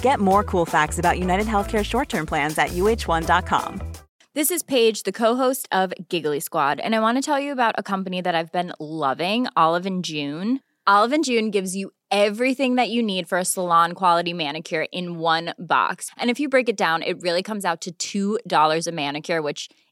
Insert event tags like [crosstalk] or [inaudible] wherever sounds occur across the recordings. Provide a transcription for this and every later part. Get more cool facts about United Healthcare short term plans at uh1.com. This is Paige, the co-host of Giggly Squad, and I want to tell you about a company that I've been loving, Olive and June. Olive and June gives you everything that you need for a salon quality manicure in one box. And if you break it down, it really comes out to $2 a manicure, which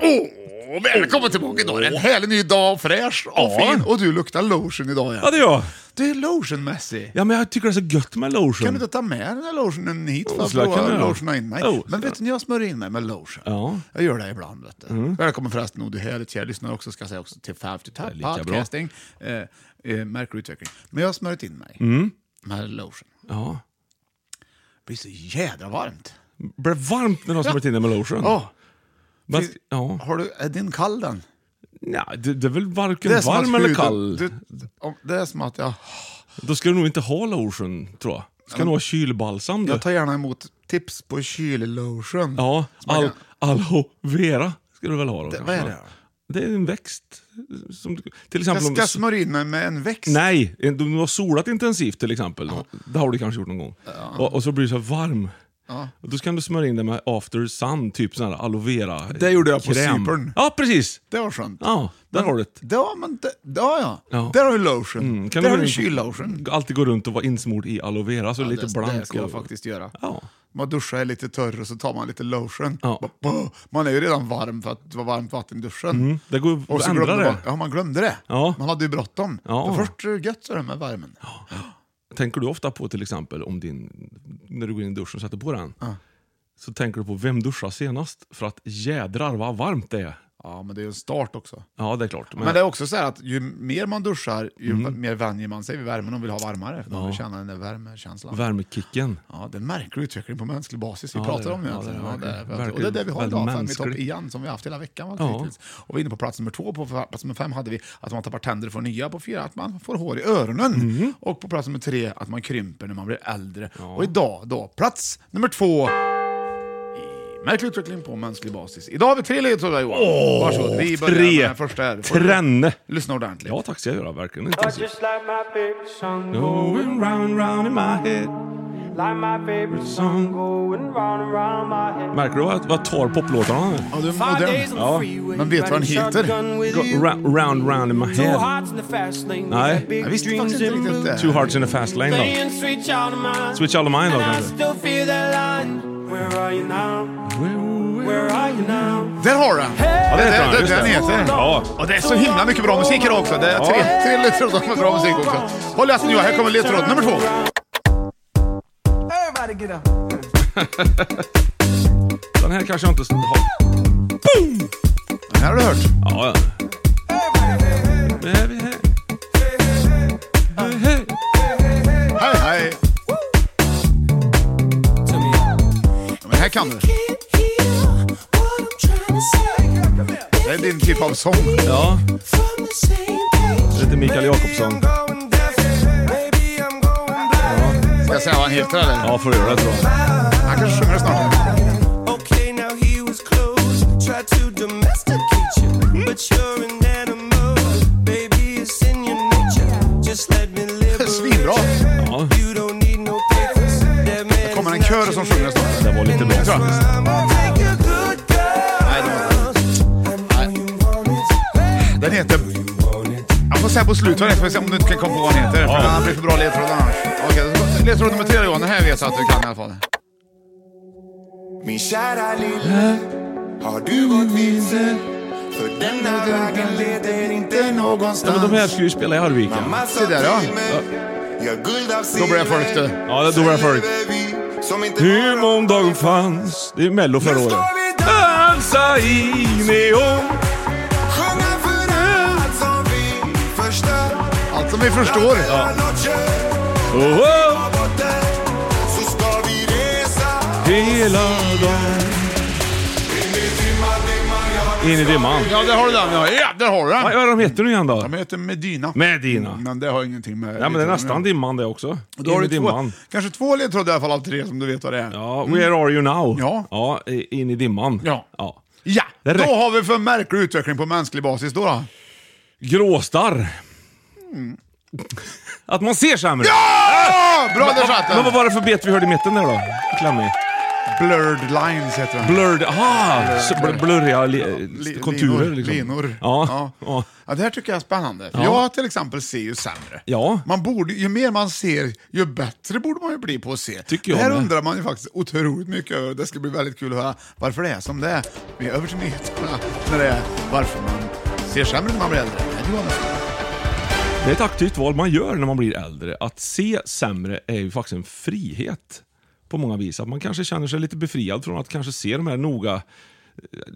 Åh, välkommen tillbaka idag. Det är en härlig ny dag, fräsch och fin. Och du luktar lotion idag igen. Ja, det är jag. Du är lotionmässig. Ja, men jag tycker det är så gött med lotion. Kan du inte ta med den här lotionen hit för Oh, att så där kan prova jag. lotiona in mig? Oh, Men så. vet du, när jag smörjer in mig med lotion, Ja. Mm. jag gör det ibland. Vet du. Välkommen förresten, och du här, kära lyssnare också, ska jag säga också, till Five to Tap lika bra. podcasting. Eh, eh, märker utveckling. Men jag har smörjt in mig Mm. med lotion. ja. Det blir så jädra varmt. Blir det varmt när du har smörjt in dig med lotion? Åh, Men, fy- ja. har du, är din kall den? Nej, det, det är väl varken Det är som att varm eller huden- kall. du- om- det är som att jag, Då ska du nog inte ha lotion, tror jag. Ska nog ha kylbalsam du. jag tar gärna emot tips på kyllotion. Ja, Som jag al, kan- aloe vera ska du väl ha då. Det- kanske, vad är va? det? Det är en växt. Som, du- till exempel Jag om- ska smörja in mig med en växt. Nej, du du har solat intensivt till exempel. Det har du kanske gjort någon gång. Och, och så blir du så här varm. Och Då kan du smörja in det med after sun, typ sån här aloe vera Det gjorde jag på kräm. Cypern. Ja, precis. Det var skönt. Ja, där har du det. Ja, men det, ja, ja. Ja. Där har du lotion. Mm, där du har gå du runt- kyllotion. Alltid gå runt och vara insmord i aloe vera, så lite det, blank. Det ska jag och- faktiskt göra. Ja. Man duschar är lite torr och så tar man lite lotion. Ja. Bara, bah. Man är ju redan varm för att det var varmt vatten i duschen. Mm, Det går ju Och att så ändra glömde det. man, ja, man glömde det. Ja. Man hade ju bråttom. Ja. Men Först är det gött så det med värmen. Tänker du ofta på till exempel om din, när du går in i duschen och sätter på den, så tänker du på vem duschar senast? För att jädrar vad varmt det är. Ja, men det är ju en start också. Ja, det är klart. Men, Mm. Men det är också så här att ju mer man duschar, ju mer vänjer man sig vid värmen och vill ha varmare. För man vill känna den där värmekänslan. värmekicken. Ja, det är en märklig utveckling på mänsklig basis vi Ja, pratar det är om det. egentligen. Ja, Ja, det det är det. är det. Verkligen. Och det är det vi har Väldigt idag, fem i topp mänskligt. igen, som vi har haft hela veckan. Ja. Ja. Och vi är inne på plats nummer två, på plats nummer fem hade vi att man tappar tänder för nya, på fyra att man får hår i öronen. Mm. Och på plats nummer tre att man krymper när man blir äldre. Och idag då, plats nummer två. i Märklig utveckling på mänsklig basis. Idag har vi tre ledtrådar Johan. Oh, Varsågod, vi börjar tre. med den första här. Får du Trenne. Lyssna ordentligt. Ja tack ska jag göra, verkligen intensivt. Just like my favorite song Going round, round in my head. Like my favorite song going round and round my head Märker du vad, vad jag tar poplåtarna nu? Ja, du är modern. Ja. Men vet du vad den heter? Go- ra- Round, round in my head. Hearts in the fast lane Nej. Jag visste faktiskt inte riktigt det. Two hearts in a fast lane då. Playing sweet child of mine Switch all of mine då And I kanske. still feel that line Where are you now? Where are you now? Där har du den! Ja, det, det är heter det, han, det, just den heter. Ja. Och det är så himla mycket bra musik idag också. Det är tre, tre ledtrådar med bra musik också. Håll i hatten Johan, här kommer ledtråd nummer två. Everybody get up Den här kanske jag inte har. Den här har du hört. Ja, ja. Baby, hey. Hey, hey. Hej, hej! Ja, Men här kan du. Det är din typ av sång. Ja, lite Mikael Jakobsson. Ska jag säga vad han heter eller? Ja, får du göra det tror jag. Han kanske sjunger det snart. Okay, now he was close. Tried to domesticate you, but you're an animal. Baby, it's in your nature. Just let me [laughs] live. Svinbra. Ja, You don't need no papers. That man Kommer en is not kör som sjunger snart. det var lite bra. Tror jag. I'll take a good girl. Nej, det var Nej. Den heter... Jag får säga på slutet vad den heter, får se om du inte kan komma på vad den heter. För den blir för bra ledtråd annars. Okej, så- ledtråd nummer tre Johan. Den här vet jag att du kan i alla fall. Min kära lille, har du gått vilse? För den här vägen leder inte Ja, någonstans. men de här skulle ju spela i Arvika. Mamma sa Se där, ja. till mig, gör guld av silver. Då blir det folk du. Ja, det då var det folk. Som inte Hur måndagen fanns... Det är Mello förra året. Dansa i neon Sjunga för allt som vi förstör. Allt som vi förstår. Alla notcher oh, oh, borta, Så ska vi resa. hela dagen In i dimman. Ja, där har du den. Ja, ja där har du Vad den. är de heter nu igen då? De heter Medina. Mm, Medina. Men det har ingenting med... Ja, men det är nästan dimman det också. Då har In i du två, dimman. kanske två ledtrådar i alla fall av tre som du vet vad det är. Ja, where are you now? Ja. ja i- in i dimman. Ja. Ja, Det då räcker. Ah! har vi för märklig utveckling på mänsklig basis då. då. Gråstarr. Mm. [laughs] Att man ser sämre. Ah, bra, där satt Men vad den! var det för bet vi hörde i mitten där då? Klämmig. Blurred lines heter den. Blurred, aha! Så bl- Blurriga li, Li- konturer linor, liksom. Linor. Ja. Ja. ja. ja, det här tycker jag är spännande. För Jag till exempel ser ju sämre. Ja. Man borde, ju mer man ser, ju bättre borde man ju bli på att se. Tycker jag det här med. undrar man ju faktiskt otroligt mycket över. Det ska bli väldigt kul att höra varför det är som det är. Vi är över till nyheterna när det är varför man ser sämre när man blir äldre. Nej, det var nästan- Det är ett aktivt val man gör när man blir äldre. Att se sämre är ju faktiskt en frihet på många vis. Att man kanske känner sig lite befriad från att kanske se de här noga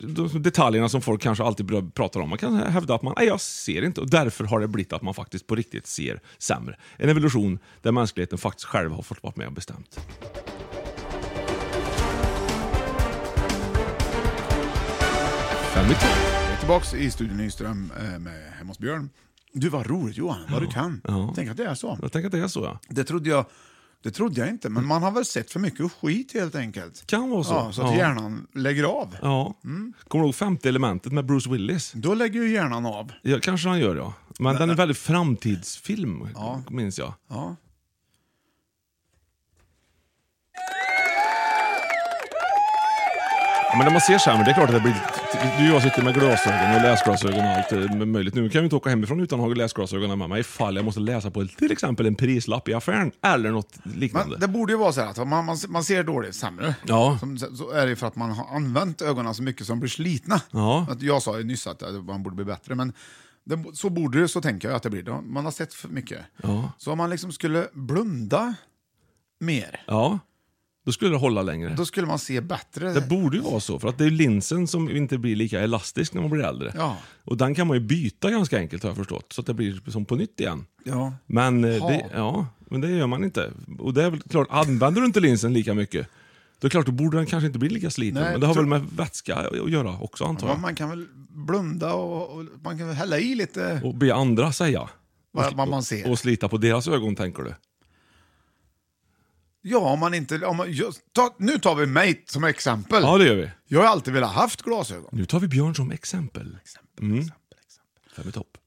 de detaljerna som folk kanske alltid bra- pratar om. Man kan hävda att man nej, jag ser inte och därför har det blivit att man faktiskt på riktigt ser sämre. En evolution där mänskligheten faktiskt själv har fått vara med och bestämt. Fem i topp. Jag är tillbaks i studion Nyström eh, med Hemma hos Björn. Du, vad roligt Johan, vad du kan. Tänk att det är så. Jag tänker att det är så ja. Det trodde jag, det trodde jag inte, men man har väl sett för mycket skit helt enkelt. Kan vara så. Ja, så att Ja. hjärnan lägger av. Ja. Mm. Kommer du ihåg femte elementet med Bruce Willis? Då lägger ju hjärnan av. Ja, kanske han gör, ja. Men den är väldigt framtidsfilm, minns jag. Ja. Ja, men när man ser skärmen, det är klart att det blir... Du och jag sitter med glasögon och läsglasögon och allt eh, möjligt. Nu kan vi inte åka hemifrån utan att ha läsglasögonen med mig ifall jag måste läsa på till exempel en prislapp i affären eller något Men liknande. det borde ju vara så här att man, man, man ser dåligt sämre. Ja. Som, så är det ju för att man har använt ögonen så mycket som blir slitna. Ja. Att jag sa ju nyss att eh, man borde bli bättre, men det, så borde det, så tänker jag att det blir. Då- Man har sett för mycket. Så om man liksom skulle blunda mer, Ja, då skulle det hålla längre. då skulle man se bättre. Det borde ju vara så, för att det är ju linsen som inte blir lika elastisk när man blir äldre. Ja. Och den kan man ju byta ganska enkelt har jag förstått, så att det blir som på nytt igen. Ja. Men, eh, Ha. det, ja, men det gör man inte. Och det är väl klart, använder du inte linsen lika mycket, då är det klart, då borde den kanske inte bli lika sliten. Nej, men det har tror- väl med vätska att göra också antar Men jag. man kan väl blunda och, och man kan väl hälla i lite Och be andra säga. vad vad man ser. Och slita på deras ögon, tänker du? Ja, om man inte... Om man, just, ta, nu tar vi mig som exempel. Ja, Mm. det gör vi. Jag har alltid velat haft glasögon. Nu tar vi Björn som exempel. Exempel, exempel, exempel. Fem i topp.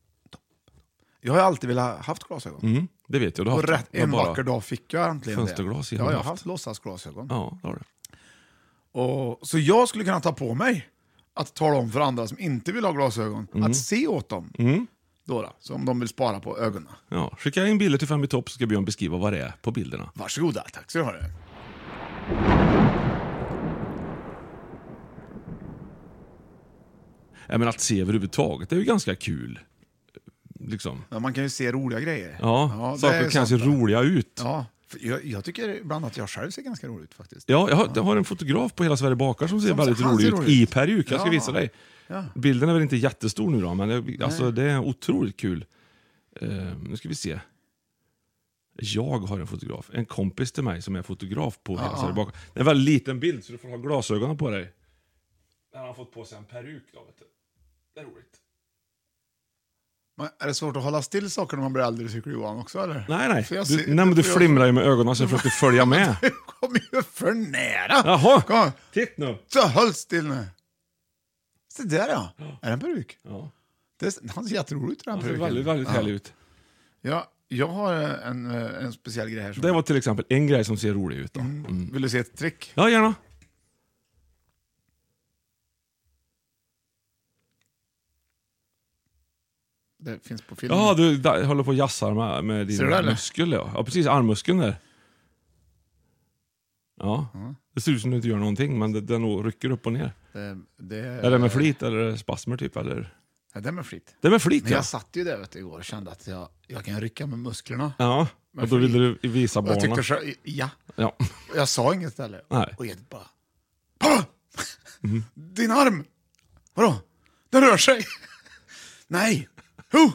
Jag har alltid velat haft glasögon. Mm, det vet jag. Du har Och haft rätt, det. Men en bara- vacker dag fick jag äntligen Fönsterglas det. i Ja, jag har haft. haft låtsasglasögon. Ja, det har du. Och, så jag skulle kunna ta på mig att tala om för andra som inte vill ha glasögon, Mm. att se åt dem. Då då, så om de vill spara på ögonen. Ja, skicka in bilder till Fem i topp så ska Björn beskriva vad det är på bilderna. Varsågoda, tack så du ha. det. Ja, men att se överhuvudtaget det är ju ganska kul. Liksom. Ja, man kan ju se roliga grejer. Ja, det är saker kan sant se det. roliga ut. Ja, för jag, jag tycker ibland att jag själv ser ganska rolig ut faktiskt. Ja, jag har, jag har en fotograf på Hela Sverige bakar som ser Som- väldigt han rolig ser ut rolig i ut. peruk. Jag ska Ja. visa dig. Bilden är väl inte jättestor nu då, men jag, alltså, det är otroligt kul. Eh, nu ska vi se. Jag har en fotograf. En kompis till mig som är fotograf på Hela Sverige bakar. Det är en väldigt liten bild så du får ha glasögonen på dig. Där har han fått på sig en peruk då, vet du. Det är roligt. Men är det svårt att hålla still saker när man blir äldre, tycker du Johan också? Eller? Nej, nej. För jag ser- [laughs] Du, nej men du för jag- flimrar ju med ögonen så jag försökte [laughs] följa med. Du kom ju för nära! Jaha. Kom, Titt nu. så håll still nu. Så där ja. Är det en peruk? Ja. Det är, han ser jätterolig ut den Han ser peruken. väldigt, väldigt härlig ut. Ja, jag har eh, en, eh, en speciell grej här. Som Det var till exempel en grej som ser rolig ut. Då. Mm. Vill du se ett trick? Ja, gärna. Det finns på film. Ja, du där, håller på och jassar med, Ser med du det, din eller? muskel. Ja. ja, precis. Armmuskeln där. Ja. Det ser ut som du inte gör någonting, men det- den nog rycker upp och ner. det, det, Är det med flit eller är det spasmer typ? Eller? Ja, det är med flit. Det är med flit Men ja. jag satt ju där vet du, igår och kände att jag, jag kan rycka med musklerna. Ja, Med och då flit. ville du visa Och jag barnen. tyckte så, ja. Ja. Och Jag sa inget heller. Nej. Och Edith bara... Pappa! [laughs] Din arm! Vadå? Den rör sig! [laughs] Nej! Ho!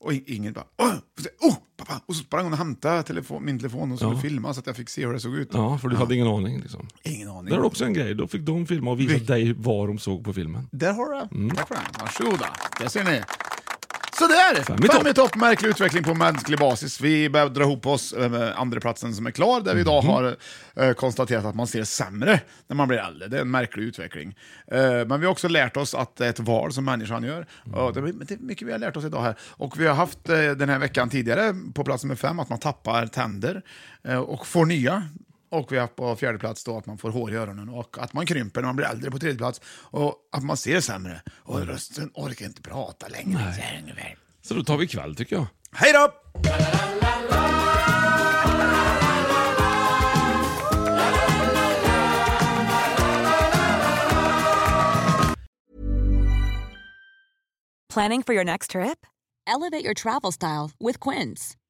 Och in- ingen bara... Åh! Och så- Oh, pappa! Och så sprang hon och hämtade telefon, min telefon och skulle filma så att jag fick se hur det såg ut. ja, för du hade ingen aning. Liksom. Ingen aning. Det är också en grej. Då fick de filma och visa Vilk- dig vad de såg på filmen. Där har du det. Mm. Tack för det. Varsågoda. Där ser ni. Sådär! i topp. Fem i topp, märklig utveckling på mänsklig basis. Vi börjar dra ihop oss eh, andra platsen som är klar, där vi idag har eh, konstaterat att man ser sämre när man blir äldre. Det är en märklig utveckling. Eh, men vi har också lärt oss att det är ett val som människan gör. Och det, är- det är mycket vi har lärt oss idag här. Och vi har haft eh, den här veckan tidigare, på plats nummer fem, att man tappar tänder eh, och får nya. Och vi har på fjärde plats då att man får hår i öronen och att man krymper när man blir äldre på tredje plats och att man ser sämre. Och rösten orkar inte prata längre. Så här ungefär. Så då tar vi kväll tycker jag. Hej då! Planning for your next trip? Elevate your travel style with Quince.